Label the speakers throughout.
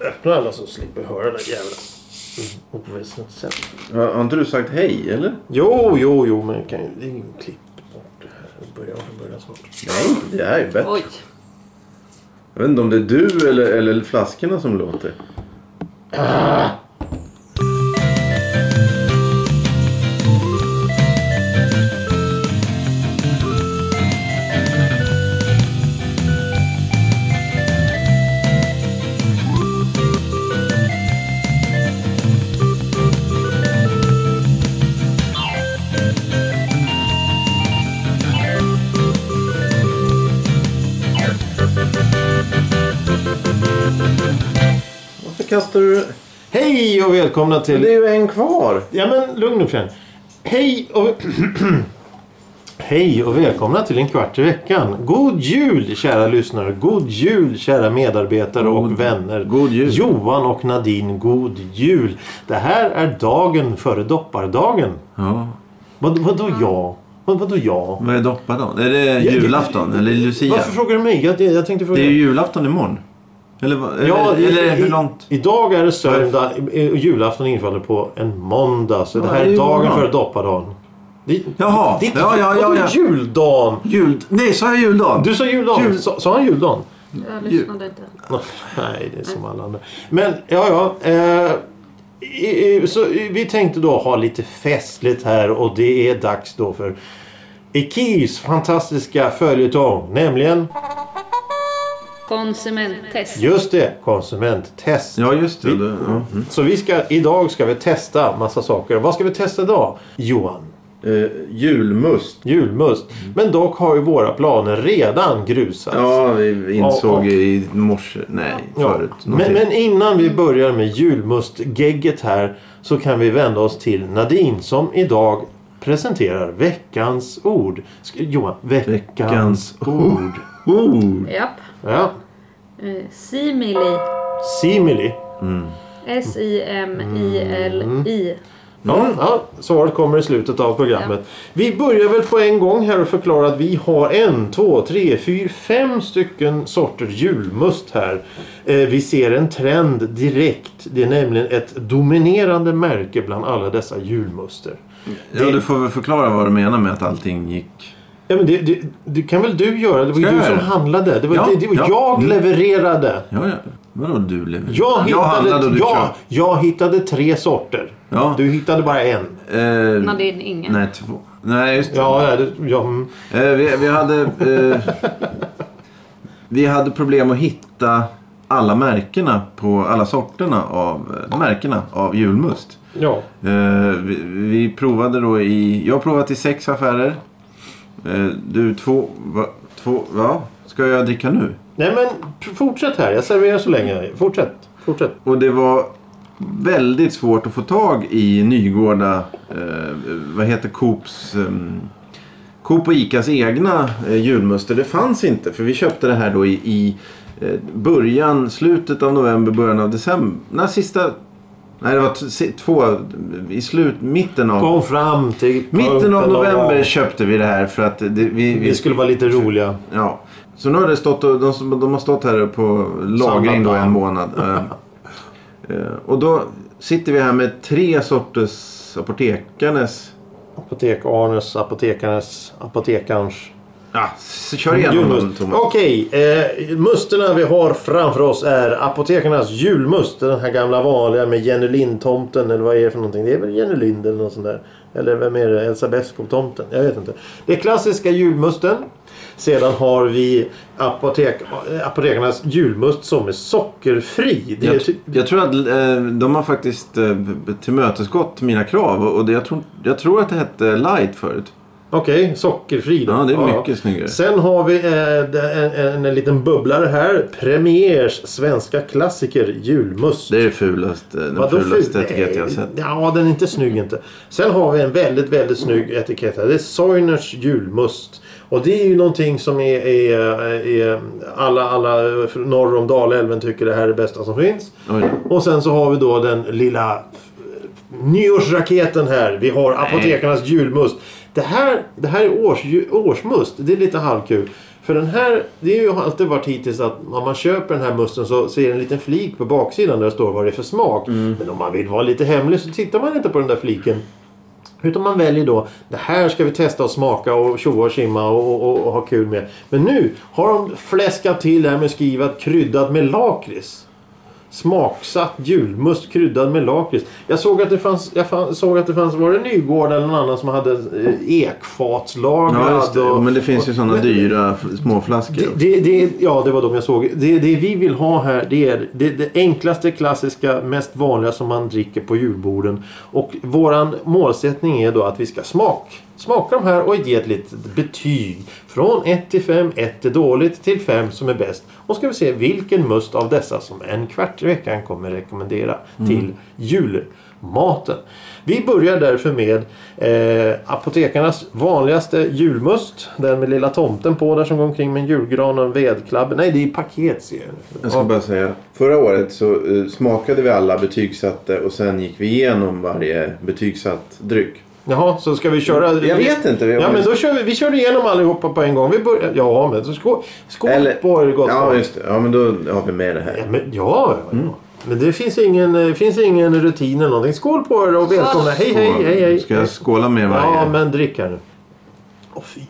Speaker 1: öppna alla så slipper höra den där jävla oväsen sen.
Speaker 2: Har har inte du sagt hej eller?
Speaker 1: Jo, jo, jo, men kan, ju- det är ju klipp bort det här. Vi börjar från början snart.
Speaker 2: Nej, det här är bättre.
Speaker 3: Oj.
Speaker 2: Jag vet inte om det är du eller, eller flaskorna som låter. Varför kastar du?
Speaker 1: Hej och välkomna till...
Speaker 2: Det är ju en kvar.
Speaker 1: Ja men lugn nu Fred. Hej och... Hej och välkomna till en kvart i veckan. God jul kära lyssnare. God jul kära medarbetare och vänner.
Speaker 2: god jul.
Speaker 1: Johan och Nadine, god jul. Det här är dagen före doppardagen.
Speaker 2: Ja.
Speaker 1: Vad, vadå jag? Vad, vadå jag?
Speaker 2: Vad är doppardagen? Är det
Speaker 1: det-
Speaker 2: julafton eller lucia?
Speaker 1: Varför frågar du mig? Jag, jag tänkte fråga...
Speaker 2: Det är ju julafton imorgon. Eller, vad- eller,
Speaker 1: Ja, i-
Speaker 2: eller hur
Speaker 1: i-
Speaker 2: långt?
Speaker 1: Idag är det söndag i- och julafton infaller på en måndag. Så det
Speaker 2: Ja,
Speaker 1: här
Speaker 2: det är
Speaker 1: är
Speaker 2: ju
Speaker 1: dagen
Speaker 2: imorgon.
Speaker 1: före doppardagen. Det,
Speaker 2: Jaha.
Speaker 1: det är inte-
Speaker 2: Ja, ja, ja,
Speaker 1: vadå
Speaker 2: ja.
Speaker 1: juldagen?
Speaker 2: Jul... Nej, sa jag juldagen?
Speaker 1: Du sa juldagen.
Speaker 2: Jul-
Speaker 1: Sa, sa han juldagen?
Speaker 3: Jag lyssnade inte.
Speaker 1: Nej, det är som alla andra. Men ja, ja. Eh, i- i- så i- vi tänkte då ha lite festligt här och det är dags då för Ikis fantastiska följetong. Nämligen,
Speaker 3: Konsumenttest.
Speaker 1: just det, konsumenttest.
Speaker 2: Ja, just det. det ja.
Speaker 1: Så vi ska, idag ska vi testa massa saker. Vad ska vi testa idag? Johan?
Speaker 2: Eh, julmust.
Speaker 1: Julmust. Men dock har ju våra planer redan grusats.
Speaker 2: Mm. Ja, vi insåg
Speaker 1: Ja, ja.
Speaker 2: i morse. Nej,
Speaker 1: Ja,
Speaker 2: förut.
Speaker 1: Men, men innan vi börjar med julmustgegget här så kan vi vända oss till Nadine som idag presenterar veckans ord. Sk- Johan, veckans,
Speaker 2: Veckans
Speaker 1: ord.
Speaker 2: Oh.
Speaker 3: Japp.
Speaker 1: Ja,
Speaker 3: Eh, Simili.
Speaker 1: simili.
Speaker 3: S-I-M-I-L-I.
Speaker 1: Mm. Ja,
Speaker 2: Mm.
Speaker 1: ja, svaret kommer i slutet av programmet. Vi börjar väl på en gång här och förklarar att vi har en, två, tre, fyra, fem stycken sorter julmust här. Eh, vi ser en trend direkt. Det är nämligen ett dominerande märke bland alla dessa julmuster.
Speaker 2: Ja, du får väl förklara vad du menar med att allting gick...
Speaker 1: Ja, men det, det, det kan väl du göra? Det var ju
Speaker 2: Ska
Speaker 1: du
Speaker 2: jag
Speaker 1: som
Speaker 2: göra det?
Speaker 1: handlade. Det var,
Speaker 2: Ja,
Speaker 1: det, det var
Speaker 2: ja.
Speaker 1: jag
Speaker 2: Mm.
Speaker 1: levererade.
Speaker 2: Ja, ja. Vadå du lever?
Speaker 1: Jag hittade,
Speaker 2: handlade och du
Speaker 1: jag,
Speaker 2: köpte.
Speaker 1: jag hittade tre sorter.
Speaker 2: Ja.
Speaker 1: Du hittade bara en.
Speaker 2: Eh,
Speaker 3: Nadine, ingen.
Speaker 2: Nej, två. Nej, just det.
Speaker 1: Ja, ja, det, ja, mm.
Speaker 2: Eh, vi, vi hade... Eh, vi hade problem att hitta alla märkena på alla sorterna av eh, märkena av julmust.
Speaker 1: ja.
Speaker 2: Eh, vi, vi provade då i... Jag har provat i sex affärer. Eh, du, två... Va, två... Ja. Ska jag dricka nu?
Speaker 1: Nej men pr- fortsätt här. Jag serverar så länge. Fortsätt. Fortsätt.
Speaker 2: Och det var väldigt svårt att få tag i Nygårda, eh, vad heter Coops, eh, Coop och Icas egna eh, julmuster. Det fanns inte för vi köpte det här då i, i eh, början, slutet av november, början av december. Nej, sista, nej det var t- si- två, i slut, mitten av,
Speaker 1: Kom fram till
Speaker 2: mitten
Speaker 1: punkten
Speaker 2: av november köpte vi det här för att det, vi,
Speaker 1: Vi
Speaker 2: vi
Speaker 1: skulle vara lite roliga.
Speaker 2: Ja. Så nu har det stått, och- de, som- de har stått här på lagring då en månad. Eh, eh, och då sitter vi här med tre sorters apotekarnes...
Speaker 1: Apotek-Arnes, apotekarnes, apotekarns.
Speaker 2: Ja, s- kör igenom dem
Speaker 1: Julmust.
Speaker 2: Thomas.
Speaker 1: Okej, eh, musterna vi har framför oss är Apotekarnas julmust. Den här gamla vanliga med Jenny Lind-tomten eller vad är det för någonting? Det är väl Jenny Lind eller något sånt där. Eller vem är det? Elsa Beskow-tomten? Jag vet inte. Det är klassiska julmusten. Sedan har vi apotek, eh, Apotekarnas julmust som är sockerfri. Det är
Speaker 2: Jag,
Speaker 1: ty-
Speaker 2: jag tror att eh, de har faktiskt eh, b- tillmötesgått mina krav. Och och det, jag, tror, jag tror att det hette light förut.
Speaker 1: Okej, sockerfri då.
Speaker 2: Ja, det är mycket snyggare.
Speaker 1: Sen har vi eh, d- en, en, en liten bubblare här. Premiers svenska klassiker julmust.
Speaker 2: Det är det fulaste, den
Speaker 1: Vadå
Speaker 2: fulaste
Speaker 1: ful?
Speaker 2: etikett jag har sett.
Speaker 1: Ja, den är inte snygg inte. Sen har vi en väldigt, väldigt snygg etikett här. Det är Soiners julmust. Och det är ju någonting som är, är, är alla, alla norr om Dalälven tycker det här är det bästa som finns.
Speaker 2: Oj då.
Speaker 1: Och sen så har vi då den lilla eh, nyårsraketen här. Vi har apotekarnas julmust. Det här, det här är års, årsmust. Det är lite halvkul. För den här, det är ju alltid varit hittills att om man köper den här musten så ser det en liten flik på baksidan där det står vad det är för smak. Men om man vill vara lite hemlig så tittar man inte på den där fliken. Utan man väljer då, det här ska vi testa och smaka och tjoa och simma och, och, och ha kul med. Men nu har de fläskat till det här med skivat kryddat med lakrits. Smaksatt julmust kryddad med lakrits. Jag såg att det fanns, jag fann, såg att det fanns, var det Nygård eller någon annan som hade eh, ekfatslagrad?
Speaker 2: Ja, just det.
Speaker 1: och-
Speaker 2: Ja, Men det finns ju
Speaker 1: och-
Speaker 2: sådana
Speaker 1: men-
Speaker 2: dyra f- småflaskor.
Speaker 1: det, det, det, ja, det var de jag såg. Det, det vi vill ha här det är det, det enklaste, klassiska, mest vanliga som man dricker på julborden. Och våran målsättning är då att vi ska smak, smaka de här och ge ett litet betyg. Från 1 till 5, 1 är dåligt, till 5 som är bäst. Och ska vi se vilken must av dessa som en kvart i veckan kommer rekommendera till julmaten. Vi börjar därför med eh, apotekarnas vanligaste julmust. Den med lilla tomten på där som går omkring med en julgran och en vedklabb. Nej, det är paket ser jag nu.
Speaker 2: Jag ska bara säga. Förra året så eh, smakade vi alla, betygsatte och sen gick vi igenom varje betygsatt dryck.
Speaker 1: Jaha, så ska vi köra...
Speaker 2: Jag vet inte.
Speaker 1: Ja, men då kör vi, vi kör igenom allihopa på en gång. Vi börjar... Ja, men så skål, skål på er gott
Speaker 2: Ja,
Speaker 1: folk.
Speaker 2: just Mm. det. Ja, men då har vi med det
Speaker 1: Ja,
Speaker 2: här.
Speaker 1: men, ja, ja. men det finns ingen, eh, finns ingen rutin eller någonting. Skål på er och välkomna. Hej, hej, hej, hej.
Speaker 2: Ska jag skåla med varje?
Speaker 1: Ja, men drick här nu. Åh, fy.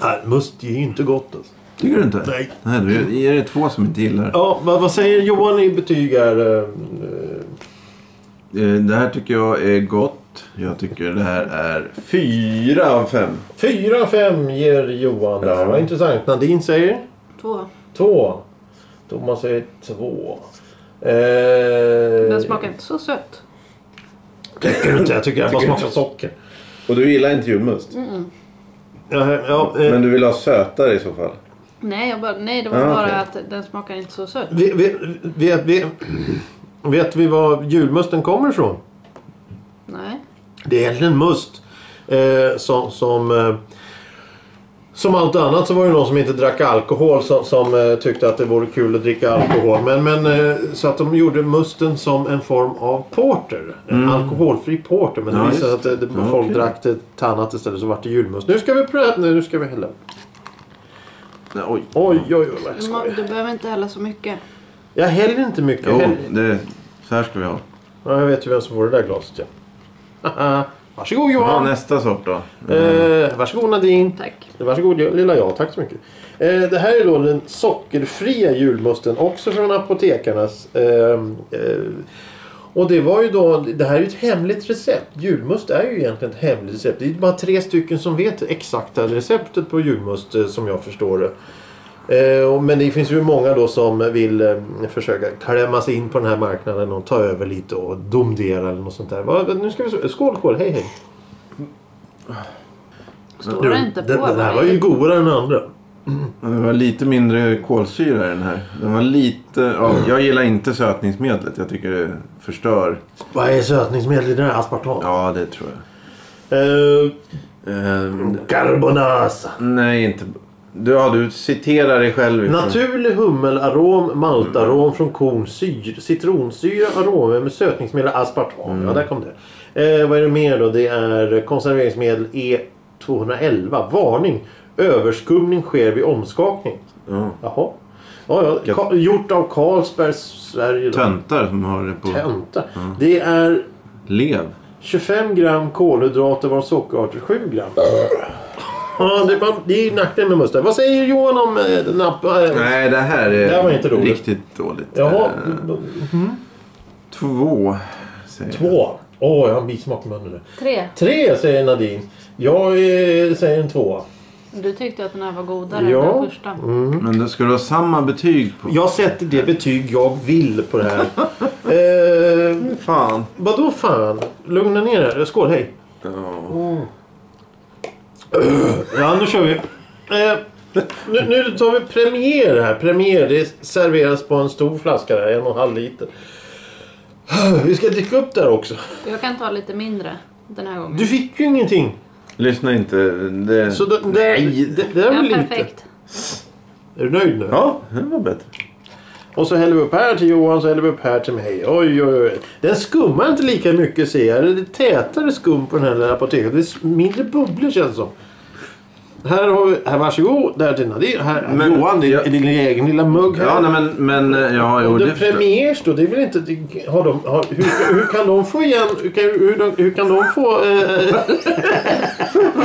Speaker 1: Nej, must är ju inte gott alltså.
Speaker 2: Tycker du inte?
Speaker 1: Nej.
Speaker 2: Nej, då är det två som inte gillar det.
Speaker 1: Ja, vad, vad säger Johan i betyg här? eh,
Speaker 2: Eh, Det här tycker jag är gott. Jag tycker det här är fyra av fem.
Speaker 1: Fyra av fem ger Johan där.
Speaker 2: Ja.
Speaker 1: Vad intressant. Nadine säger?
Speaker 3: Två.
Speaker 1: Två. Thomas säger två. Eh,
Speaker 3: Den smakar inte så sött.
Speaker 1: Tycker du inte? Jag tycker jag bara
Speaker 2: Tycker du
Speaker 1: smakar socker.
Speaker 2: Och du gillar inte julmust?
Speaker 1: Ja, ja, Mm. eh,
Speaker 2: Men du vill ha sötare i så fall?
Speaker 3: Nej, jag bara, nej det var
Speaker 2: Ah,
Speaker 3: bara
Speaker 2: okej.
Speaker 3: att den smakar inte så sött.
Speaker 1: vi- vi- vet, vi, vet vi var julmusten kommer ifrån?
Speaker 3: Nej.
Speaker 1: Det är egentligen must. Eh, som, som, eh, som allt annat så var det någon som inte drack alkohol som, som eh, tyckte att det vore kul att dricka alkohol. Men, men, eh, så att de gjorde musten som en form av porter. En alkoholfri porter. Men det
Speaker 2: Mm. Ja,
Speaker 1: visade sig att
Speaker 2: just
Speaker 1: det, det,
Speaker 2: Ja,
Speaker 1: folk
Speaker 2: okej.
Speaker 1: drack det till annat istället så vart det julmust. Nu ska vi pröva. Nej, nu ska vi hälla.
Speaker 2: Nej, oj.
Speaker 1: Oj, oj, oj. vad jag
Speaker 3: Du,
Speaker 1: skojar.
Speaker 3: må- du behöver inte hälla så mycket.
Speaker 1: Jag häller inte mycket. Jag,
Speaker 2: Jo,
Speaker 1: häller...
Speaker 2: det, så här ska vi ha.
Speaker 1: ja, jag vet ju vem som får det där glaset. Ja. Haha. Varsågod
Speaker 2: Ja,
Speaker 1: Johan.
Speaker 2: nästa sort då.
Speaker 1: Eh, varsågod Nadine.
Speaker 3: Tack.
Speaker 1: Varsågod lilla jag, tack så mycket. Eh, det här är då den sockerfria julmusten, också från apotekarnas. ehm, eh, och det var ju då, det här är ju ett hemligt recept. Julmust är ju egentligen ett hemligt recept. Det är bara tre stycken som vet det exakta receptet på julmust eh, som jag förstår det. Eh, och- Men det finns ju många då som vill eh, försöka klämma sig in på den här marknaden och ta över lite och domdera eller något sånt där. Va- Nu ska vi se. Skål, skål, hej hej.
Speaker 3: Står
Speaker 1: Du,
Speaker 3: det inte på?
Speaker 1: den, den här
Speaker 3: vad
Speaker 1: var
Speaker 3: är
Speaker 1: ju
Speaker 3: det?
Speaker 1: godare än andra.
Speaker 2: Det var lite mindre kolsyra i den här. Den var lite... Ja, jag gillar inte sötningsmedlet. Jag tycker det förstör.
Speaker 1: Vad är sötningsmedel i den här aspartam?
Speaker 2: Ja, det tror jag.
Speaker 1: Eh,
Speaker 2: Ehm,
Speaker 1: carbonasa.
Speaker 2: nej, inte... Du, ja, du citerar dig själv. ifrån-
Speaker 1: Naturlig hummelarom, maltarom från korn, syr, citronsyra, aromer med sötningsmedel, aspartam.
Speaker 2: Mm.
Speaker 1: Ja, där kom det. Eh, vad är det mer då? Det är konserveringsmedel E211. Varning! Överskumning sker vid omskakning.
Speaker 2: Ja.
Speaker 1: Jaha. Ja, ja. Ka- gjort av Carlsberg, Sverige. då.
Speaker 2: Töntar som har det på
Speaker 1: Tönta.
Speaker 2: Mm.
Speaker 1: Det är
Speaker 2: lev.
Speaker 1: 25 gram kolhydrater var sockerarter 7 gram. Ja, det, man, det är ju nackdelen med musten. Vad säger Johan om eh, napp... Eh,
Speaker 2: Nej, det här är
Speaker 1: Det här var inte roligt.
Speaker 2: riktigt dåligt.
Speaker 1: jaha,
Speaker 2: Eh, två, säger jag.
Speaker 1: två. Åh, jag har en bismak i munnen nu.
Speaker 3: Tre.
Speaker 1: Tre säger Nadine. Jag eh, säger en tvåa.
Speaker 3: Du tyckte att den här var godare
Speaker 1: Ja. Mm.
Speaker 3: än den första.
Speaker 2: Men då ska du ha samma betyg på...
Speaker 1: Jag sätter det betyg jag vill på det här. eh,
Speaker 2: Fan.
Speaker 1: vadå fan? Lugna ner er. Skål, hej.
Speaker 2: Ja.
Speaker 1: Ja, nu kör vi. Eh, nu, nu tar vi premiär här. Premiär, det serveras på en stor flaska där, en och en halv liter. Vi ska dricka upp där också.
Speaker 3: Jag kan ta lite mindre den här gången.
Speaker 1: Du fick ju ingenting.
Speaker 2: Lyssna inte. Det...
Speaker 1: Så det, det,
Speaker 2: Nej.
Speaker 1: det, det är
Speaker 3: ja,
Speaker 1: väl lite.
Speaker 3: perfekt.
Speaker 1: Är du nöjd nu?
Speaker 2: Ja, det var bättre.
Speaker 1: Och så häller vi upp här till Johan, så häller vi upp här till mig. Oj, oj, oj. Den skummar inte lika mycket ser jag. Det är tätare skum på den här lilla apoteket. Det är mindre bubblor känns det som. här har vi, här varsågod, där till Nadir. Här,
Speaker 2: Men-
Speaker 1: Johan, din,
Speaker 2: Ja.
Speaker 1: din egen lilla mugg här.
Speaker 2: Ja, nej, men, men eh, ja, jo,
Speaker 1: Om
Speaker 2: det
Speaker 1: det
Speaker 2: förstår jag.
Speaker 1: premiers då, det är väl inte... det- Har de, har, hur, hur kan de få igen... Hur kan, hur, de- hur kan de få... Eh,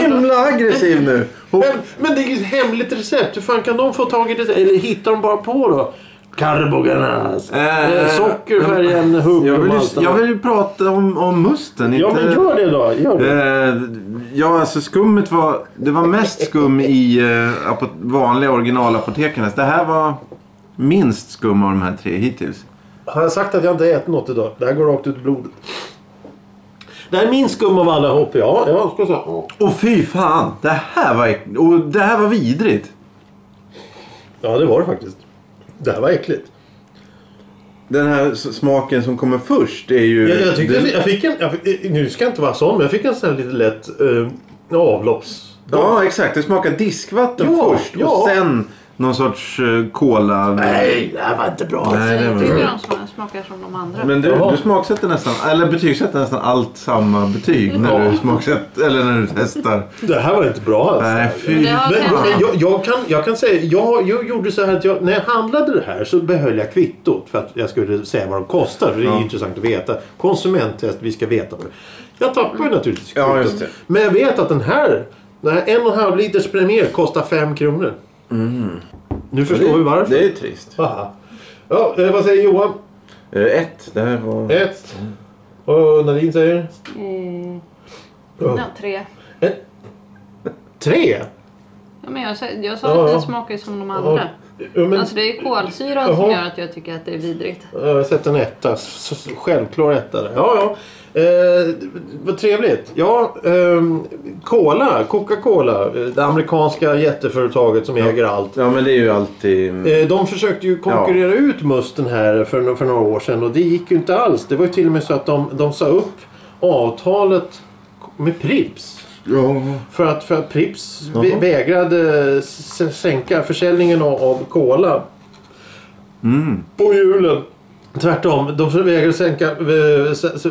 Speaker 2: Himla aggressiv nu. Hon-
Speaker 1: men, men det är ju ett hemligt recept. Hur fan kan de få tag i det? Eller hittar de bara på då? Carboganas.
Speaker 2: Eh,
Speaker 1: Eh, socker, färgämne, humle
Speaker 2: Jag vill
Speaker 1: och
Speaker 2: ju,
Speaker 1: allt
Speaker 2: jag
Speaker 1: annat.
Speaker 2: vill ju prata om, om musten.
Speaker 1: Ja
Speaker 2: inte-
Speaker 1: men gör det då. Gör det.
Speaker 2: Eh, ja, alltså skummet var... Det var mest skum i eh, apo- vanliga originalapotekernas. Det här var minst skum av de här tre hittills.
Speaker 1: Har jag sagt att jag inte ätit något idag? Det här går rakt ut i blodet. Det här är min skum av alla hopp. Ja, jag ska säga.
Speaker 2: Och fy fan! Det här var, äck- och det här var vidrigt.
Speaker 1: Ja, det var det faktiskt. Det här var äckligt.
Speaker 2: Den här s- smaken som kommer först är ju...
Speaker 1: Jag, jag, tyckte,
Speaker 2: den-
Speaker 1: jag fick en... Jag fick, eh, nu ska jag inte vara sån, men jag fick en sån här lite lätt eh, avlopps...
Speaker 2: Ja, exakt. Det smakar diskvatten
Speaker 1: Ja,
Speaker 2: först
Speaker 1: ja.
Speaker 2: och sen någon sorts eh, cola.
Speaker 1: Nej, det här var inte bra.
Speaker 2: Nej, det
Speaker 3: jag
Speaker 2: var-
Speaker 3: tycker de som smakar som de andra.
Speaker 2: Men du,
Speaker 1: Jaha.
Speaker 2: du smaksätter nästan, eller betygsätter nästan allt samma betyg när
Speaker 1: Ja.
Speaker 2: du smaksätter, eller när du testar.
Speaker 1: Det här var inte bra alltså. alls.
Speaker 2: Nej,
Speaker 3: Men
Speaker 2: fy
Speaker 3: det har
Speaker 1: Men,
Speaker 3: kanske-
Speaker 2: fan.
Speaker 1: men jag, jag, kan, jag kan säga, jag, jag gjorde så här att jag, när jag handlade det här så behöll jag kvittot för att jag skulle säga vad de kostar. För det är ju
Speaker 2: Ja.
Speaker 1: intressant att veta. Konsumenttest, vi ska veta vad det Jag tappar ju naturligtvis
Speaker 2: Ja,
Speaker 1: kvittot.
Speaker 2: just det.
Speaker 1: Men jag vet att den här, den här en och en halv liters Premier kostar 5 kronor. Nu förstår vi varför.
Speaker 2: Mm. Det är trist.
Speaker 1: Haha. Ja, eh, vad säger Johan?
Speaker 2: Eh, Ett, det här var...
Speaker 1: Ett. Och Nadine säger?
Speaker 3: Mm.
Speaker 1: Ja.
Speaker 3: Ja, tre.
Speaker 1: Tre?
Speaker 3: Ja, men jag, sa- jag sa
Speaker 1: Ja,
Speaker 3: att
Speaker 1: ja.
Speaker 3: det smakar ju som de andra.
Speaker 1: Ja, men-
Speaker 3: Alltså det är kolsyran som
Speaker 1: Jaha.
Speaker 3: gör att jag tycker att det är vidrigt.
Speaker 1: Ja, Eh, Jag har sett en etta. S- s- Självklar etta. där. Ja, ja. Eh, vad trevligt. Ja, ehm, Cola, Coca-Cola. eh, Det amerikanska jätteföretaget som äger allt.
Speaker 2: Ja, men det är ju alltid...
Speaker 1: Eh, de försökte ju konkurrera ut musten här för, no- för några år sedan och det gick ju inte alls. Det var ju till och med så att de, de sa upp avtalet med Pripps.
Speaker 2: Ja.
Speaker 1: För att, för att Pripps
Speaker 2: Jaha.
Speaker 1: vä- vägrade s- s- sänka försäljningen av, av cola
Speaker 2: Mm.
Speaker 1: på hjulen. Tvärtom, de vägrade sänka, eh, s- s-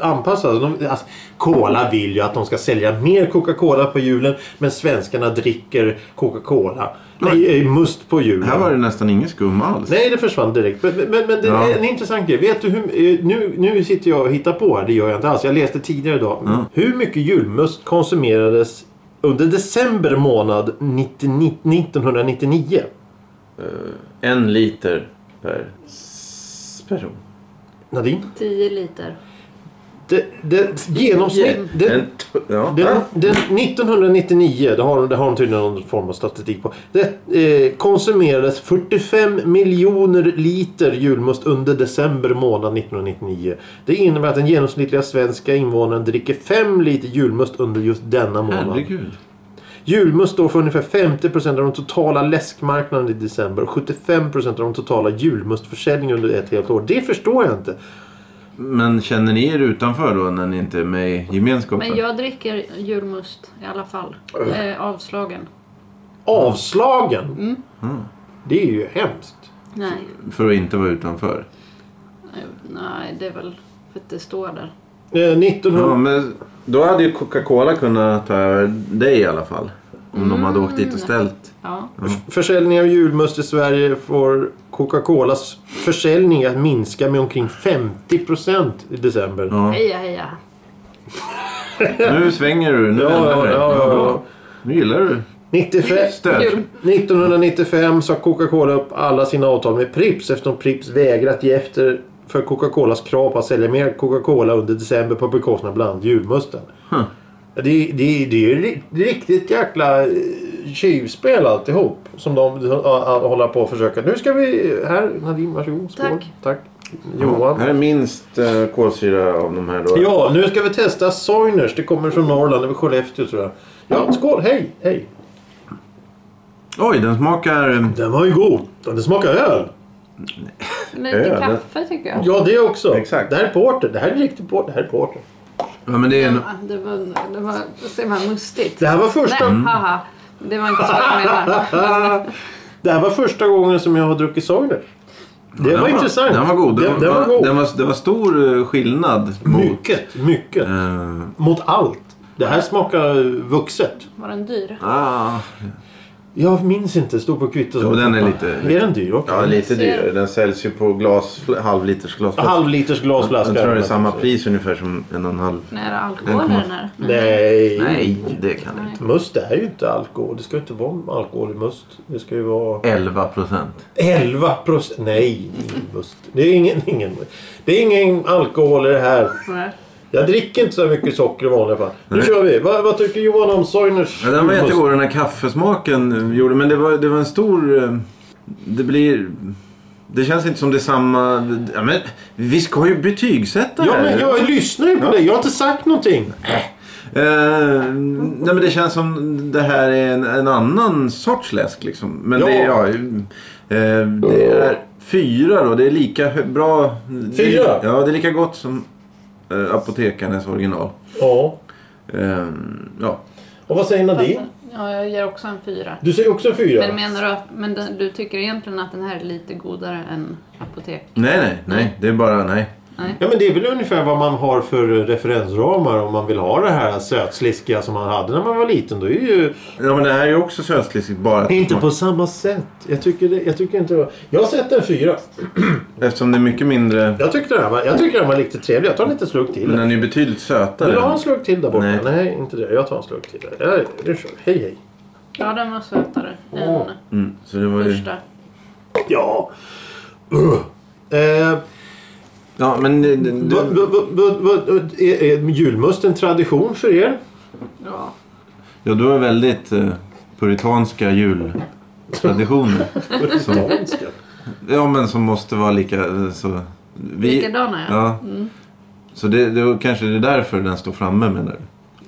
Speaker 1: anpassa. De, alltså, cola vill ju att de ska sälja mer Coca-Cola på julen men svenskarna dricker Coca-Cola. Nej, eh, must på julen.
Speaker 2: Här var det nästan ingen skum alls.
Speaker 1: Nej, det försvann direkt. Men, men, men det
Speaker 2: Ja.
Speaker 1: är en intressant grej. Vet du hur, eh, nu, nu sitter jag och hittar på här. Det gör jag inte alls. Jag läste tidigare idag.
Speaker 2: Mm.
Speaker 1: Hur mycket julmust konsumerades under december månad 99, 1999?
Speaker 2: En liter per s- person.
Speaker 1: Alltså, Nadine?
Speaker 3: Tio liter.
Speaker 1: Det, det, genomsnitt... Det,
Speaker 2: En t- ja.
Speaker 1: det, det, 1999, det har, det har de tydligen någon form av statistik på. Det eh, konsumerades 45 miljoner liter julmust under december månad 1999. Det innebär att den genomsnittliga svenska invånaren dricker 5 liter julmust under just denna månad.
Speaker 2: Herregud.
Speaker 1: Julmust står för ungefär 50% av den totala läskmarknaden i december och 75% av den totala julmustförsäljningen under ett helt år. Det förstår jag inte.
Speaker 2: Men känner ni er utanför då när ni inte är med i gemenskapen?
Speaker 3: Men jag dricker julmust i alla fall. Eh, avslagen.
Speaker 1: Avslagen! Mm. Det är ju hemskt.
Speaker 3: Nej.
Speaker 2: För att inte vara utanför.
Speaker 3: Eh, Nej, det är väl för att det står där.
Speaker 1: Eh, 1900...
Speaker 2: Ja, men då hade ju Coca-Cola kunnat ta över dig i alla fall. Om de hade åkt
Speaker 1: Mm.
Speaker 2: dit och ställt.
Speaker 3: Ja.
Speaker 1: Försäljningen av julmust i Sverige får Coca-Colas försäljning att minska med omkring 50% i december.
Speaker 2: Ja.
Speaker 3: Heja, heja.
Speaker 2: Nu svänger du. Nu
Speaker 1: Ja,
Speaker 2: ändrar
Speaker 1: ja,
Speaker 2: du dig.
Speaker 1: ja, ja.
Speaker 2: bra. Nu gillar du
Speaker 1: 95,
Speaker 2: stöd.
Speaker 3: Jul.
Speaker 1: 1995 sa Coca-Cola upp alla sina avtal med Pripps eftersom Pripps vägrat ge efter för Coca-Colas krav på att sälja mer Coca-Cola under december på bekostnad bland annat julmusten. Det, det, det är ju ri- riktigt jäkla eh, tjuvspel alltihop. Som de eh, håller på att försöka. Nu ska vi... Här, Nadine, varsågod. Skål.
Speaker 3: Tack.
Speaker 1: Tack. Johan.
Speaker 2: Här är minst eh, kolsyra av de här då.
Speaker 1: Ja, nu ska vi testa Soiners. Det kommer från Norrland, över Skellefteå tror jag. Ja, skål! Hej! Hej!
Speaker 2: Oj, den smakar... eh,
Speaker 1: Den var ju god. Ja, Den smakar öl.
Speaker 3: Lite
Speaker 2: Öl.
Speaker 3: kaffe tycker jag.
Speaker 1: Ja, det också.
Speaker 2: Exakt.
Speaker 1: Det här är porter. Det här är riktigt porter. Det här är porter.
Speaker 2: Ja, men det är en...
Speaker 3: Ja, Det var, det var, ser man, mustigt.
Speaker 1: Det här var första...
Speaker 3: Nej, haha. Det var inte så jag menade.
Speaker 1: Det här var första gången som jag har druckit Soiner. Det
Speaker 2: den
Speaker 1: var, intressant.
Speaker 2: Den var god.
Speaker 1: Den, den var god.
Speaker 2: Den var, det var stor eh, skillnad mot...
Speaker 1: mycket, mycket.
Speaker 2: eh,
Speaker 1: Mot allt. Det här smakar vuxet.
Speaker 3: Var den dyr?
Speaker 2: Ah,
Speaker 1: Jag minns inte. Stod på kvittot.
Speaker 2: Jo, den är lite-
Speaker 1: Är den dyr också?
Speaker 2: ja, lite
Speaker 3: Ser-
Speaker 2: dyrare. Den säljs ju på glas, halvliters glasflaska.
Speaker 1: Halvliters glasflaska.
Speaker 2: Jag tror det är samma pris ungefär som en och en halv.
Speaker 3: Nära
Speaker 2: Den
Speaker 3: alkohol
Speaker 2: kommer-
Speaker 3: är den här.
Speaker 1: Nej.
Speaker 2: Nej, det kan det
Speaker 3: Nej.
Speaker 2: inte.
Speaker 1: Must det är ju inte alkohol. Det ska ju inte vara alkohol i must. Det ska ju vara
Speaker 2: 11 procent.
Speaker 1: 11 procent. Nej, ingen must. Det är ingen, ingen, det är ingen alkohol i det här.
Speaker 3: Nej.
Speaker 1: Jag dricker inte så mycket socker i vanliga fall. Nu kör vi. Vad, vad tycker Johan om Soiners
Speaker 2: Ja, den var jättegod den här kaffesmaken gjorde. Men det var, det var en stor... eh, Det blir... Det känns inte som det är samma... Ja, men, vi ska ju betygsätta
Speaker 1: Ja,
Speaker 2: det här.
Speaker 1: men jag lyssnar ju på dig. Jag har inte sagt någonting.
Speaker 2: Eh, nej men det känns som det här är en, en annan sorts läsk liksom. Men
Speaker 1: Ja.
Speaker 2: det, är- ja, eh, det är fyra då. Det är lika hö- bra.
Speaker 1: Fyra?
Speaker 2: ja, det är lika gott som eh, apotekarnas original.
Speaker 1: Ja.
Speaker 2: Eh, ja.
Speaker 1: Och vad säger Nadine?
Speaker 3: Ja, jag ger också en fyra.
Speaker 1: Du säger också fyra.
Speaker 3: Men menar du att, men den- du tycker egentligen att den här är lite godare än apotek?
Speaker 2: Nej, nej, nej. Det är bara nej.
Speaker 1: Ja, men det är väl ungefär vad man har för referensramar om man vill ha det här sötsliskiga som man hade när man var liten. Då är ju...
Speaker 2: Ja, men det här är ju också sötsliskigt bara. att-
Speaker 1: Inte på samma sätt. Jag tycker, det, jag tycker inte det var... Jag har sett en fyra.
Speaker 2: Eftersom det är mycket mindre.
Speaker 1: Jag tyckte den här var, jag tycker den var lite trevlig. Jag tar en liten slurk till.
Speaker 2: Men den är ju betydligt
Speaker 1: Vill du ha en
Speaker 2: sötare.
Speaker 1: slurk till där borta? Nej.
Speaker 2: Nej.
Speaker 1: inte det. Jag tar en slurk till. Där. Ja, nu kör vi. Hej, hej.
Speaker 3: Ja, den var sötare
Speaker 1: Åh.
Speaker 3: än
Speaker 2: Mm, så det var ju...
Speaker 3: första.
Speaker 1: Ja. Ugh. Eh,
Speaker 2: Ja, men... eh, det- det-
Speaker 1: vad- vad- vad- vad- vad- är, är julmust en tradition för er?
Speaker 3: Ja.
Speaker 2: Ja, du har väldigt eh, puritanska jultraditioner. som, ja, men som måste vara lika... eh, Så, vi,
Speaker 3: Likadana ja.
Speaker 2: Ja.
Speaker 1: Mm.
Speaker 2: Så det, det var kanske det är därför den står framme menar du?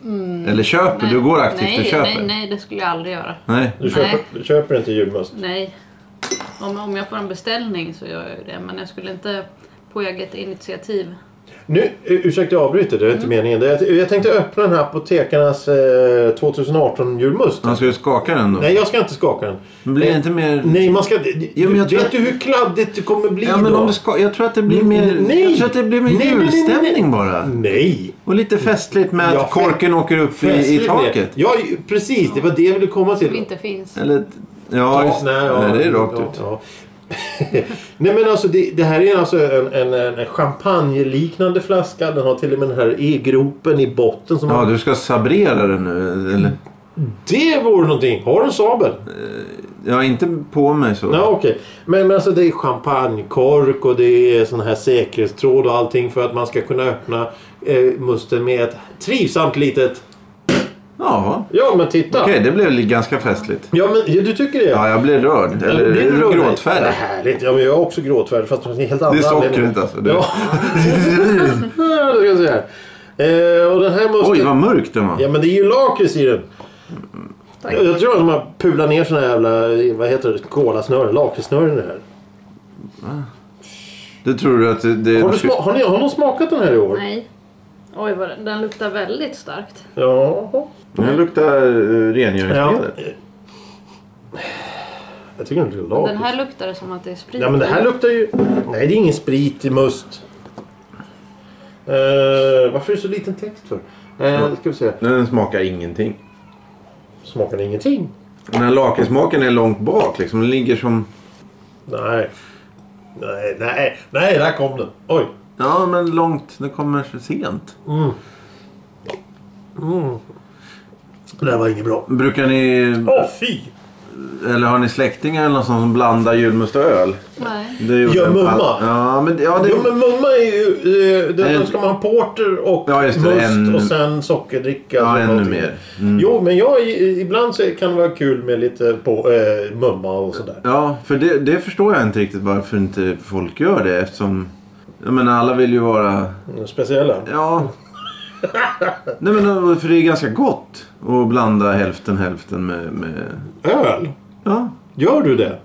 Speaker 1: Mm.
Speaker 2: Eller köper,
Speaker 3: Nej,
Speaker 2: du går aktivt
Speaker 3: nej,
Speaker 2: och köper?
Speaker 3: Nej, nej, det skulle jag aldrig göra.
Speaker 2: Nej.
Speaker 1: Du
Speaker 3: Nej.
Speaker 1: köper, du köper inte julmust?
Speaker 3: Nej. Om, om jag får en beställning så gör jag ju det. Men jag skulle inte på eget initiativ.
Speaker 1: Nu, eh, ursäkta jag avbryter, det är inte meningen. Det är- Jag tänkte öppna den här apotekarnas eh, 2018 julmust.
Speaker 2: Man ska ju skaka den då.
Speaker 1: Nej, jag ska inte skaka den.
Speaker 2: Men blir det inte mer...
Speaker 1: Nej, man ska...
Speaker 2: Ja, men jag tror
Speaker 1: vet
Speaker 2: att-
Speaker 1: du hur kladdigt det kommer bli
Speaker 2: Ja, men
Speaker 1: då?
Speaker 2: om du ska, jag tror att det blir mer,
Speaker 1: Nej.
Speaker 2: jag tror att det blir mer
Speaker 1: Nej, nej, nej, nej, nej.
Speaker 2: julstämning bara.
Speaker 1: Nej!
Speaker 2: Och lite festligt med
Speaker 1: Ja,
Speaker 2: att korken åker upp i, i
Speaker 1: Festligt med.
Speaker 2: taket.
Speaker 1: Ja, ju- precis. Det var det jag ville komma
Speaker 3: Som
Speaker 1: till.
Speaker 3: inte finns.
Speaker 2: Eller... Ja, just, nej, det är rakt ut.
Speaker 1: ja. Nej men alltså det, det här är alltså en, en, en champagneliknande flaska. Den har till och med den här e-gropen i botten. Som
Speaker 2: Ja,
Speaker 1: har...
Speaker 2: du ska sabrera den nu? Eller?
Speaker 1: Det vore någonting! Har du en sabel?
Speaker 2: Ja, inte på mig så.
Speaker 1: Ja, okej. Men, men alltså det är champagnekork och det är sån här säkerhetstråd och allting för att man ska kunna öppna eh, musten med ett trivsamt litet...
Speaker 2: Jaha.
Speaker 1: Ja, men titta!
Speaker 2: Okej, det blev li- ganska festligt.
Speaker 1: Ja, men ja, du tycker det?
Speaker 2: Ja, jag blev rörd. Eller
Speaker 1: Blir du
Speaker 2: blir
Speaker 1: rörd?
Speaker 2: gråtfärdig.
Speaker 1: Härligt! Ja, men jag är också gråtfärdig fast det är helt andra
Speaker 2: Det är
Speaker 1: anledningar.
Speaker 2: sockret alltså. Det.
Speaker 1: Ja, det ska jag säga. Eh, och den här musten...
Speaker 2: Oj, vad mörk den var.
Speaker 1: Ja, men det är ju lakrits i den.
Speaker 3: Tack.
Speaker 1: Jag, jag tror att de har pulat ner såna jävla, vad heter det, kolasnören, lakritssnören i det här.
Speaker 2: Det tror du att det- det
Speaker 1: Har, du
Speaker 2: är...
Speaker 1: sma- har, ni, har någon smakat den här i år?
Speaker 3: Nej. Oj, vad den, den luktar väldigt starkt.
Speaker 1: Ja.
Speaker 2: Den luktar eh,
Speaker 1: Ja.
Speaker 2: rengöringsmedel.
Speaker 1: Jag tycker den luktar
Speaker 3: Den
Speaker 1: lakrits.
Speaker 3: här luktar det som att det är sprit.
Speaker 1: Ja men det här luktar ju... Nej det är ingen sprit i must. Eh, varför är det så liten text för? Uh, ska vi se.
Speaker 2: Den smakar ingenting.
Speaker 1: Smakar den ingenting?
Speaker 2: Den här lakritssmaken är långt bak liksom. Den ligger som...
Speaker 1: Nej. Nej, nej, nej, där kom den. Oj.
Speaker 2: Ja, men långt. Den kommer så sent.
Speaker 1: Det där var inget bra.
Speaker 2: Brukar ni...
Speaker 1: Åh fy!
Speaker 2: Eller har ni släktingar eller någon sån som blandar julmust och öl?
Speaker 3: Nej.
Speaker 2: Det gjorde
Speaker 1: Ja,
Speaker 2: jag på
Speaker 1: mumma.
Speaker 2: all- Ja, men... Ja, det...
Speaker 1: Jo men mumma är ju... eh, den-
Speaker 2: Nej.
Speaker 1: Då ska man ha porter och
Speaker 2: Ja, just det,
Speaker 1: must
Speaker 2: en-
Speaker 1: och sen sockerdricka.
Speaker 2: Ja,
Speaker 1: och
Speaker 2: ännu
Speaker 1: någonting.
Speaker 2: mer. Mm.
Speaker 1: Jo men jag, i- ibland så kan det vara kul med lite på, eh, mumma och sådär.
Speaker 2: Ja, för det, det förstår jag inte riktigt varför inte folk gör det eftersom... Jag menar alla vill ju vara...
Speaker 1: Speciella.
Speaker 2: Ja. Nej men för det är ganska gott att blanda hälften hälften med... med
Speaker 1: Öl?
Speaker 2: ja.
Speaker 1: Gör du det?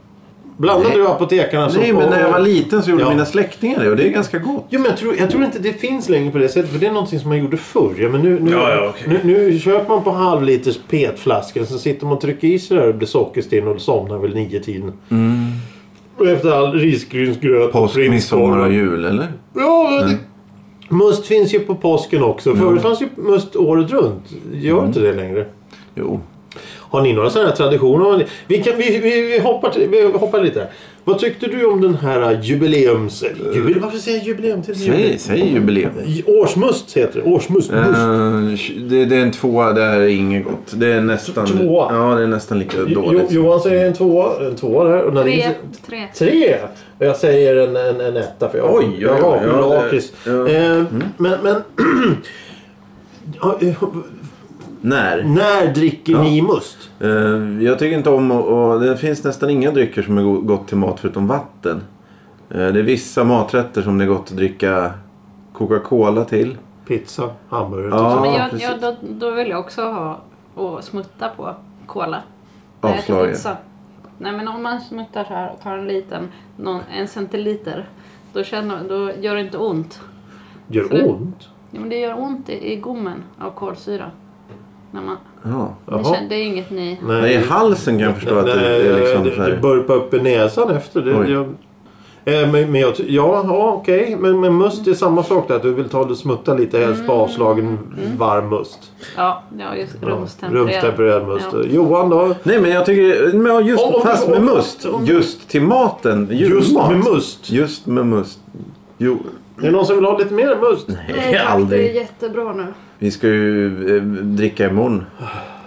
Speaker 1: Blandade
Speaker 2: Nej.
Speaker 1: du apotekarna som-
Speaker 2: Nej men när jag var liten så gjorde
Speaker 1: Alltså, Ja.
Speaker 2: mina släktingar det och det är ganska gott.
Speaker 1: Jo, men jag, tror, jag tror inte det finns längre på det sättet. För det är någonting som man gjorde förr. Ja, men nu, nu,
Speaker 2: Ja, ja, okej.
Speaker 1: nu, nu köper man på halvliters petflaskor. Så sitter man och trycker i sig det där och blir sockerstinn och somnar väl nio tiden. Och efter all risgrynsgröt och
Speaker 2: Mm. Påsk,
Speaker 1: prinskorv
Speaker 2: midsommar och Mm.
Speaker 1: och-
Speaker 2: jul eller?
Speaker 1: Ja, men det, Must finns ju på påsken också. Förut
Speaker 2: Mm.
Speaker 1: fanns ju must året runt. Gör inte det längre.
Speaker 2: Jo.
Speaker 1: Har ni några sådana här traditioner? Vi, kan, vi, vi, vi, hoppar till, vi hoppar lite här. Vad tyckte du om den här eh, jubileums... eller Jubil, varför säger jag jubileum? Till
Speaker 2: Eh. Säg, säg jubileum.
Speaker 1: Ju- Årsmust heter det. Årsmust. must.
Speaker 2: Eh, det, det är en tvåa, det här är inget gott. Det är nästan,
Speaker 1: Tvåa?
Speaker 2: ja, det är nästan lika
Speaker 1: Jo,
Speaker 2: dåligt.
Speaker 1: Johan säger en tvåa. En tvåa där. Och när
Speaker 3: Tre,
Speaker 1: ni-
Speaker 3: tre.
Speaker 1: Tre! Och jag säger en, en, en etta för jag
Speaker 2: Oj, oj,
Speaker 1: jag har
Speaker 2: oj,
Speaker 1: ju
Speaker 2: ja,
Speaker 1: lakrits.
Speaker 2: det- ja. Mm.
Speaker 1: Eh, Men, men Ja, eh,
Speaker 2: När?
Speaker 1: när dricker
Speaker 2: Ja.
Speaker 1: ni must?
Speaker 2: Eh, jag tycker inte om och, och Det finns nästan inga drycker som är go- gott till mat förutom vatten. Eh, det är vissa maträtter som det är gott att dricka Coca-Cola till.
Speaker 1: Pizza, hamburgare.
Speaker 2: Ja,
Speaker 1: typ.
Speaker 3: Men jag,
Speaker 2: precis.
Speaker 3: jag, då, då vill jag också ha och smutta på cola. När jag äter
Speaker 2: Avslaget.
Speaker 3: pizza. Nej men om man smuttar så här och tar en liten, någon, en centiliter. Då, känner, då gör det inte ont.
Speaker 1: Gör
Speaker 3: Så det-
Speaker 1: ont?
Speaker 3: Ja, men det gör ont i, i gommen av kolsyra. När man,
Speaker 2: Ja.
Speaker 3: det,
Speaker 1: Jaha.
Speaker 3: känner, det är inget ni...
Speaker 2: Nej, i halsen kan jag förstå att det, det är liksom så
Speaker 1: det, det
Speaker 2: här.
Speaker 1: burpar upp i näsan efter. Det,
Speaker 2: Oj.
Speaker 1: jag, eh, men, men jag, ty- ja, ja okej. Men, men must är samma sak där. att Du vill ta och smutta lite helst
Speaker 3: Mm.
Speaker 1: på avslagen varm must.
Speaker 3: Ja, ja just
Speaker 1: Ja,
Speaker 3: rumstempererad.
Speaker 1: rumstempererad must.
Speaker 3: Ja.
Speaker 1: Johan då?
Speaker 2: Nej men jag tycker, men ja, just,
Speaker 1: Om- om-
Speaker 2: fast med
Speaker 1: om-
Speaker 2: must.
Speaker 1: om-
Speaker 2: Just till maten.
Speaker 1: Just
Speaker 2: julmat.
Speaker 1: med must.
Speaker 2: Just med must. Jo,
Speaker 1: Är det någon som vill ha lite mer must?
Speaker 2: nej aldrig.
Speaker 3: jättebra nu.
Speaker 2: Vi ska ju eh, dricka imorgon.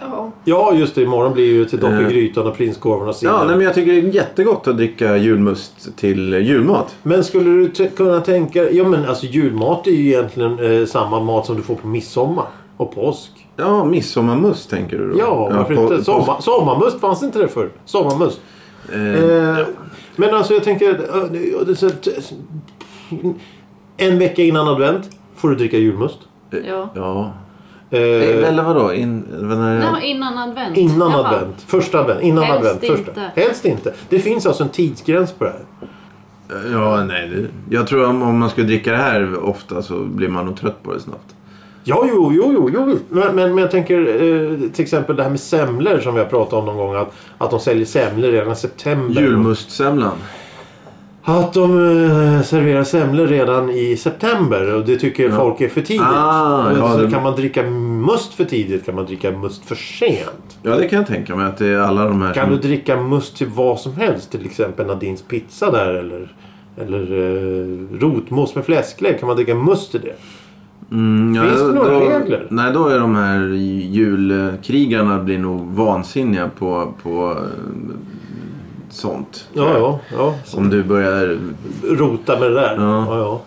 Speaker 3: Ja.
Speaker 1: Ja, just det. Imorgon blir ju till dopp i
Speaker 2: Eh.
Speaker 1: grytan och prinskorven och
Speaker 2: Ja,
Speaker 1: sillen.
Speaker 2: nej,
Speaker 1: men...
Speaker 2: men jag tycker det är jättegott att dricka julmust till julmat.
Speaker 1: skulle du t- kunna tänka... Ja, men alltså julmat är ju egentligen eh, samma mat som du får på midsommar och påsk.
Speaker 2: Ja, midsommarmust tänker du då?
Speaker 1: Ja, varför
Speaker 2: på-
Speaker 1: inte?
Speaker 2: på-
Speaker 1: Sommar, sommarmust fanns inte det förr. Sommarmust.
Speaker 2: eh,
Speaker 1: Eh, men alltså jag tänker... eh, det- det- så- t- En vecka innan advent får du dricka julmust.
Speaker 3: ja.
Speaker 2: ja.
Speaker 1: Eh,
Speaker 2: Eh, Eller vadå? In, vad när
Speaker 3: Nej,
Speaker 2: jag,
Speaker 3: men innan advent.
Speaker 1: Innan
Speaker 3: Jaha.
Speaker 1: advent. Första advent. Innan
Speaker 3: Helst
Speaker 1: advent. Första.
Speaker 3: inte.
Speaker 1: Helst inte. Det finns alltså en tidsgräns på det här.
Speaker 2: ja, nej. Det, jag tror om, om man skulle dricka det här ofta så blir man nog trött på det snabbt.
Speaker 1: Ja, jo, jo, jo, jo visst. Men, men, men jag tänker eh, till exempel det här med semlor som vi har pratat om någon gång. Att, att de säljer semlor redan i september.
Speaker 2: Julmustsemlan.
Speaker 1: Att de eh, serverar semlor redan i september. Och det tycker folk är för tidigt.
Speaker 2: Ah,
Speaker 1: och
Speaker 2: ja,
Speaker 1: så
Speaker 2: det-
Speaker 1: Kan man dricka must för tidigt kan man dricka must för sent.
Speaker 2: Ja, det kan jag tänka mig att det är alla de här
Speaker 1: Kan
Speaker 2: som...
Speaker 1: du dricka must till vad som helst? Till exempel Nadins pizza där eller, eller eh, rotmos med fläsklägg. Kan man dricka must till det?
Speaker 2: Mm, ja,
Speaker 1: Finns det
Speaker 2: då-
Speaker 1: några
Speaker 2: då,
Speaker 1: regler?
Speaker 2: Nej, då är de här julkrigarna blir nog vansinniga på, på eh, sånt.
Speaker 1: Ja, ja. ja.
Speaker 2: Om du börjar
Speaker 1: Rota med det där.
Speaker 2: Ja.
Speaker 1: Ja, ja.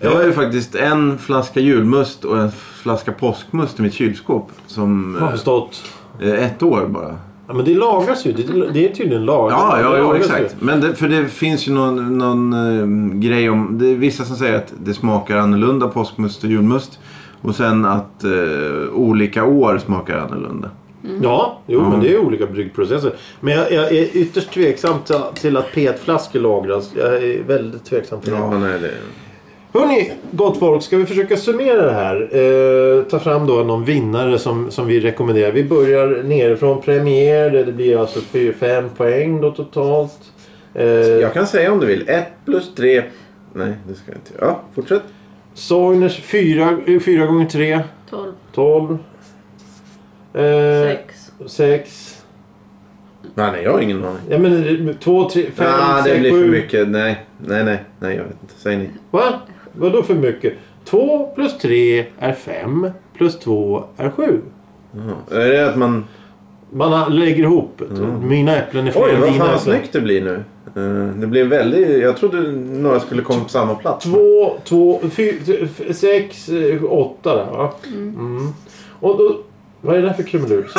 Speaker 2: Jag har ju faktiskt en flaska julmust och en flaska påskmust i mitt kylskåp. Som
Speaker 1: Jag har förstått.
Speaker 2: eh, ett år bara.
Speaker 1: Ja, men det lagras ju. Det, det är tydligen lagrat.
Speaker 2: Ja, ja,
Speaker 1: Det
Speaker 2: jo,
Speaker 1: lagras
Speaker 2: exakt.
Speaker 1: ju.
Speaker 2: Men det, för det finns ju någon, någon eh, grej om... Det är vissa som säger att det smakar annorlunda påskmust och julmust. Och sen att eh, olika år smakar annorlunda.
Speaker 1: Ja, jo,
Speaker 2: Mm.
Speaker 1: men det är olika bryggprocesser. Men jag, jag är ytterst tveksam till, till att PET-flaskor lagras. Jag är väldigt tveksam till det.
Speaker 2: nej, det...
Speaker 1: Hörni, gott folk. Ska vi försöka summera det här? Eh, ta fram då någon vinnare som, som vi rekommenderar. Vi börjar nerifrån premier. Det blir alltså 4-5 poäng då totalt. Eh,
Speaker 2: kan säga om du vill. Ett plus tre... Nej, det ska jag inte. Ja, fortsätt.
Speaker 1: Soiners 4, 4 gånger 3.
Speaker 3: Tolv,
Speaker 1: 12. Eh,
Speaker 3: sex.
Speaker 1: 6.
Speaker 2: Nej, nej, jag har ingen aning.
Speaker 1: Ja men 2,
Speaker 2: Ah,
Speaker 1: 3, 5, 6, 7.
Speaker 2: mycket. Nej, nej, nej. Nej, jag vet inte. Säg ni.
Speaker 1: Va? Vadå för mycket? 2 plus 3 är 5. Plus 2 är 7.
Speaker 2: Är det att man...
Speaker 1: Man har- lägger ihop. Mina äpplen är fler
Speaker 2: Mm. Oj,
Speaker 1: än
Speaker 2: vad
Speaker 1: dina
Speaker 2: fan alltså.
Speaker 1: äpplen.
Speaker 2: vad snyggt det blir nu. Eh, Det blir väldigt... Jag trodde några skulle komma på samma plats.
Speaker 1: 2, 2, 4, 6, 8 där va? Mm. Och då, vad är det där för krumelur? Så.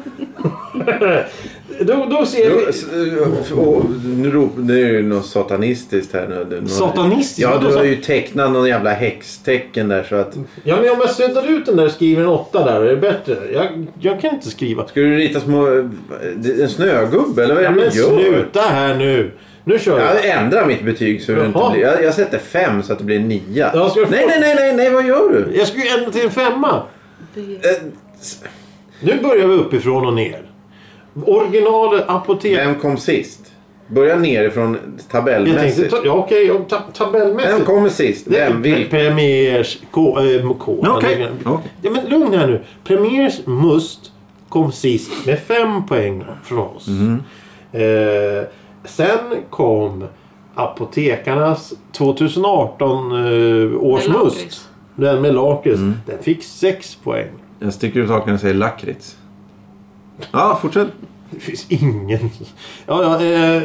Speaker 1: då, då ser
Speaker 2: Jo,
Speaker 1: vi...
Speaker 2: s- eh, och nu rop, det är ju något satanistiskt här nu. Det- något-
Speaker 1: Satanistiskt?
Speaker 2: Ja,
Speaker 1: Vadå
Speaker 2: du har
Speaker 1: sat-
Speaker 2: ju tecknat någon jävla häxtecken där så att...
Speaker 1: Ja men om jag suddar ut den där och skriver en 8 där, är det bättre? Jag, jag kan inte skriva.
Speaker 2: Ska du rita små... eh, det- En snögubbe eller vad är
Speaker 1: Ja,
Speaker 2: det
Speaker 1: men
Speaker 2: du gör?
Speaker 1: sluta här nu! Nu kör vi!
Speaker 2: Jag ändrar mitt betyg så det inte
Speaker 1: Jaha.
Speaker 2: blir... Jag, jag sätter fem så att det blir nia.
Speaker 1: Ja, ska du få-
Speaker 2: Nej, nej, nej, nej, nej, vad gör du?
Speaker 1: Jag skulle ju ändra till en femma!
Speaker 3: B.
Speaker 2: Eh,
Speaker 1: Nu börjar vi uppifrån och ner. Original apotek...
Speaker 2: Vem kom sist? Börja nerifrån
Speaker 1: Jag tänkte,
Speaker 2: tabellmässigt.
Speaker 1: ta, ja, okej, om ta,
Speaker 2: Vem
Speaker 1: tabellmässigt.
Speaker 2: kommer sist?
Speaker 1: Det är
Speaker 2: Vem? Vilken?
Speaker 1: Premiers... K... Äh, K
Speaker 2: Ja, okej. Okej.
Speaker 1: Ja, men lugn här nu. Premiers Must kom sist med fem poäng från oss.
Speaker 2: Mhm.
Speaker 1: Eh, sen kom Apotekarnas 2018 eh, års
Speaker 3: Med lakrits.
Speaker 1: Must. Den med lakrits.
Speaker 2: Mm.
Speaker 1: Den fick sex poäng.
Speaker 2: Jag sticker ut hakan och säger lakrits. Ja, fortsätt.
Speaker 1: Det finns ingen... Ja, ja, eh,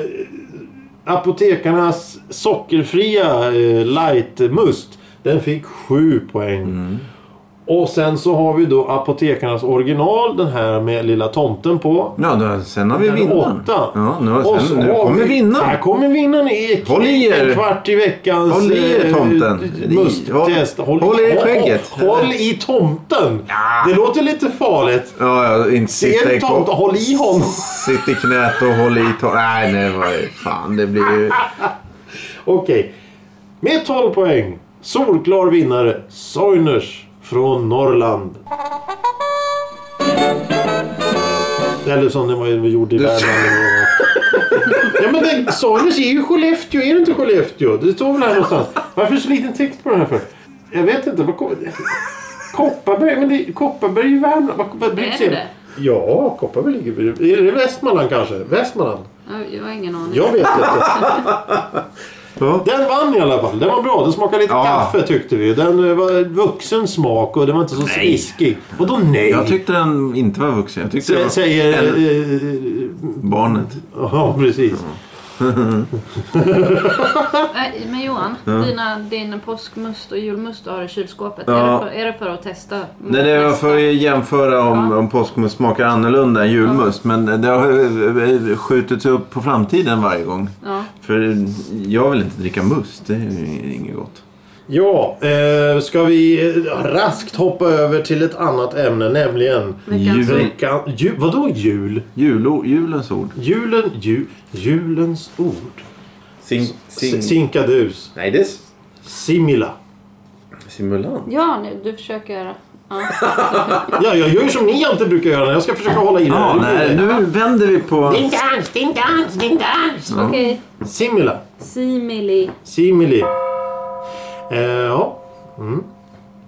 Speaker 1: apotekarnas sockerfria eh, light-must. Den fick sju poäng.
Speaker 2: Mm.
Speaker 1: Och sen så har vi då apotekarnas original. Den här med lilla tomten på.
Speaker 2: Ja, då, sen har vi
Speaker 1: Den
Speaker 2: vinnaren.
Speaker 1: åtta.
Speaker 2: Ja, nu, har,
Speaker 1: Och så
Speaker 2: sen, nu
Speaker 1: har
Speaker 2: kommer
Speaker 1: vi- Här
Speaker 2: vinnaren.
Speaker 1: kommer vinnaren i
Speaker 2: Håll i er.
Speaker 1: en kvart i veckans
Speaker 2: Håll i er,
Speaker 1: eh,
Speaker 2: tomten.
Speaker 1: musttest.
Speaker 2: Håll- håll i skägget.
Speaker 1: Håll, håll i tomten. Det låter lite farligt.
Speaker 2: Ja, ja, inte
Speaker 1: Se
Speaker 2: sitta
Speaker 1: en tomt och håll i honom.
Speaker 2: Sitt i knät och håll i tån. Nej, nej, vad är- fan. Det blir ju...
Speaker 1: Okej. Med 12 poäng, solklar vinnare, Soiners från Norrland. Eller som den var ju gjord i Värmland. ja men den, Soiners är ju Skellefteå, är det inte Skellefteå? Det står väl här någonstans. Varför så liten text på den här för? Jag vet inte. Vad kom... Kopparberg, men det, Kopparberg är ju Värmland. Vad, vad,
Speaker 3: Är det det?
Speaker 1: Ja, Kopparberg ligger... Är det Västmanland kanske? Västmanland?
Speaker 3: Jag- Jag har ingen aning.
Speaker 1: Jag vet inte.
Speaker 2: Ja.
Speaker 1: Den vann i alla fall. Den var bra. Den smakade lite
Speaker 2: Ja.
Speaker 1: kaffe tyckte vi. Den eh, var vuxen smak och den var inte så sliskig. Vadå nej?
Speaker 2: Jag tyckte den inte var vuxen. Jag tyckte det
Speaker 1: Sä-
Speaker 2: var
Speaker 1: Säger...
Speaker 2: en-
Speaker 1: eh,
Speaker 2: barnet.
Speaker 1: Ja, precis.
Speaker 3: Nej, Eh, men Johan, dina, din påskmust och julmust du har i kylskåpet.
Speaker 2: Ja.
Speaker 3: Är, det för, är det för att testa?
Speaker 2: Nej, det var för att jämföra om,
Speaker 3: Ja.
Speaker 2: om påskmust smakar annorlunda än julmust. Men det har eh, skjutits upp på framtiden varje gång.
Speaker 3: Ja.
Speaker 2: För jag vill inte dricka must. Det är ju inget gott.
Speaker 1: Ja, eh, ska vi eh, raskt hoppa över till ett annat ämne, nämligen...
Speaker 3: Veckans-
Speaker 2: Jul,
Speaker 1: Veckan, ju, vadå jul?
Speaker 2: julo, julens ord.
Speaker 1: Julen, ju, julens ord.
Speaker 2: Sim,
Speaker 1: Sin. Sinkadus.
Speaker 2: nej, det är
Speaker 1: Simila.
Speaker 2: simulant.
Speaker 3: Ja, nu, du försöker... Ja.
Speaker 1: Ja, jag gör ju som ni alltid brukar göra. Jag ska försöka hålla i det
Speaker 2: Ja, nej, nu vänder vi på...
Speaker 1: Ding-dans, ding-dans, ding-dans.
Speaker 3: Okej.
Speaker 1: Simila.
Speaker 3: Simili.
Speaker 1: Simili. Eh, ja. Mm.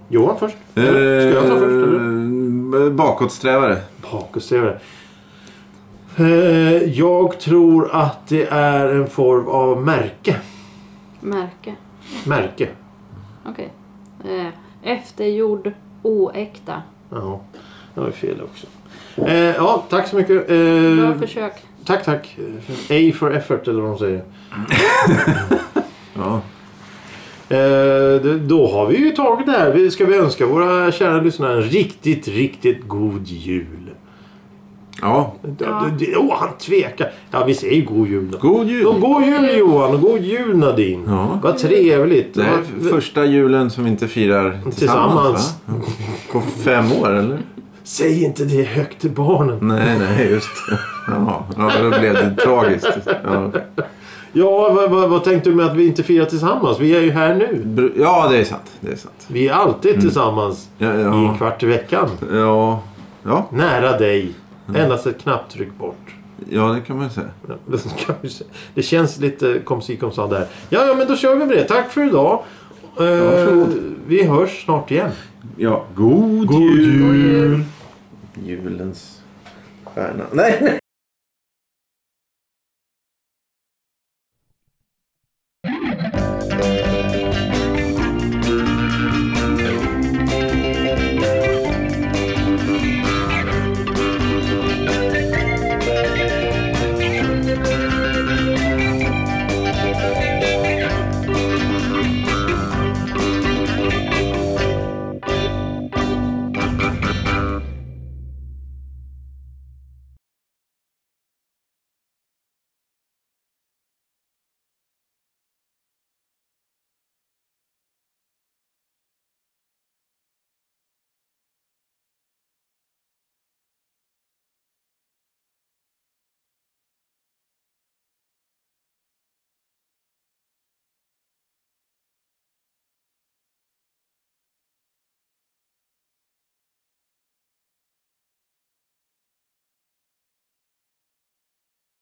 Speaker 1: Johan först. Eller Ska jag ta först? eller?
Speaker 2: Eh, Bakåtsträvare.
Speaker 1: Bakåtsträvare. Eh, jag tror att det är en form av märke.
Speaker 3: Märke.
Speaker 1: Märke.
Speaker 3: Okej. Eh, eftergjord. Oäkta.
Speaker 1: Ja, det var ju fel också. Eh, ja, tack så mycket. Eh,
Speaker 3: Bra försök.
Speaker 1: tack, tack. A for effort eller vad de säger.
Speaker 2: Ja.
Speaker 1: Eh, det- då har vi ju tagit det här. Vi- Ska vi önska våra kära lyssnare en riktigt, riktigt god jul.
Speaker 2: ja.
Speaker 1: Ja. det- Åh, han tvekar. Ja, vi säger god jul då.
Speaker 2: God jul!
Speaker 1: Och God jul Johan och god jul Nadine.
Speaker 2: Ja.
Speaker 1: Vad trevligt.
Speaker 2: Det här är
Speaker 1: Vad-
Speaker 2: första julen som vi inte firar tillsammans,
Speaker 1: Tillsammans.
Speaker 2: Va? På fem år, eller?
Speaker 1: Säg inte det högt till barnen.
Speaker 2: Nej, nej, just det. Jaha, ja, då blev det tragiskt. Ja.
Speaker 1: Ja, vad, vad, vad tänkte du med att vi inte firar tillsammans? Vi är ju här nu.
Speaker 2: Br- ja, det är sant. Det är sant.
Speaker 1: Vi är alltid tillsammans
Speaker 2: Ja,
Speaker 1: i
Speaker 2: Mm. ja,
Speaker 1: en kvart i veckan.
Speaker 2: ja, ja,
Speaker 1: Nära dig.
Speaker 2: Mm.
Speaker 1: Endast ett knapptryck bort.
Speaker 2: ja, det kan man ju säga.
Speaker 1: Ja, det kan vi se. Det känns lite kom si kom sa där. Ja, ja, men då kör vi med det. Tack för idag. Eh,
Speaker 2: varsågod.
Speaker 1: vi hörs snart igen.
Speaker 2: Ja, god, god
Speaker 1: jul.
Speaker 2: Julens stjärna. Nej, nej.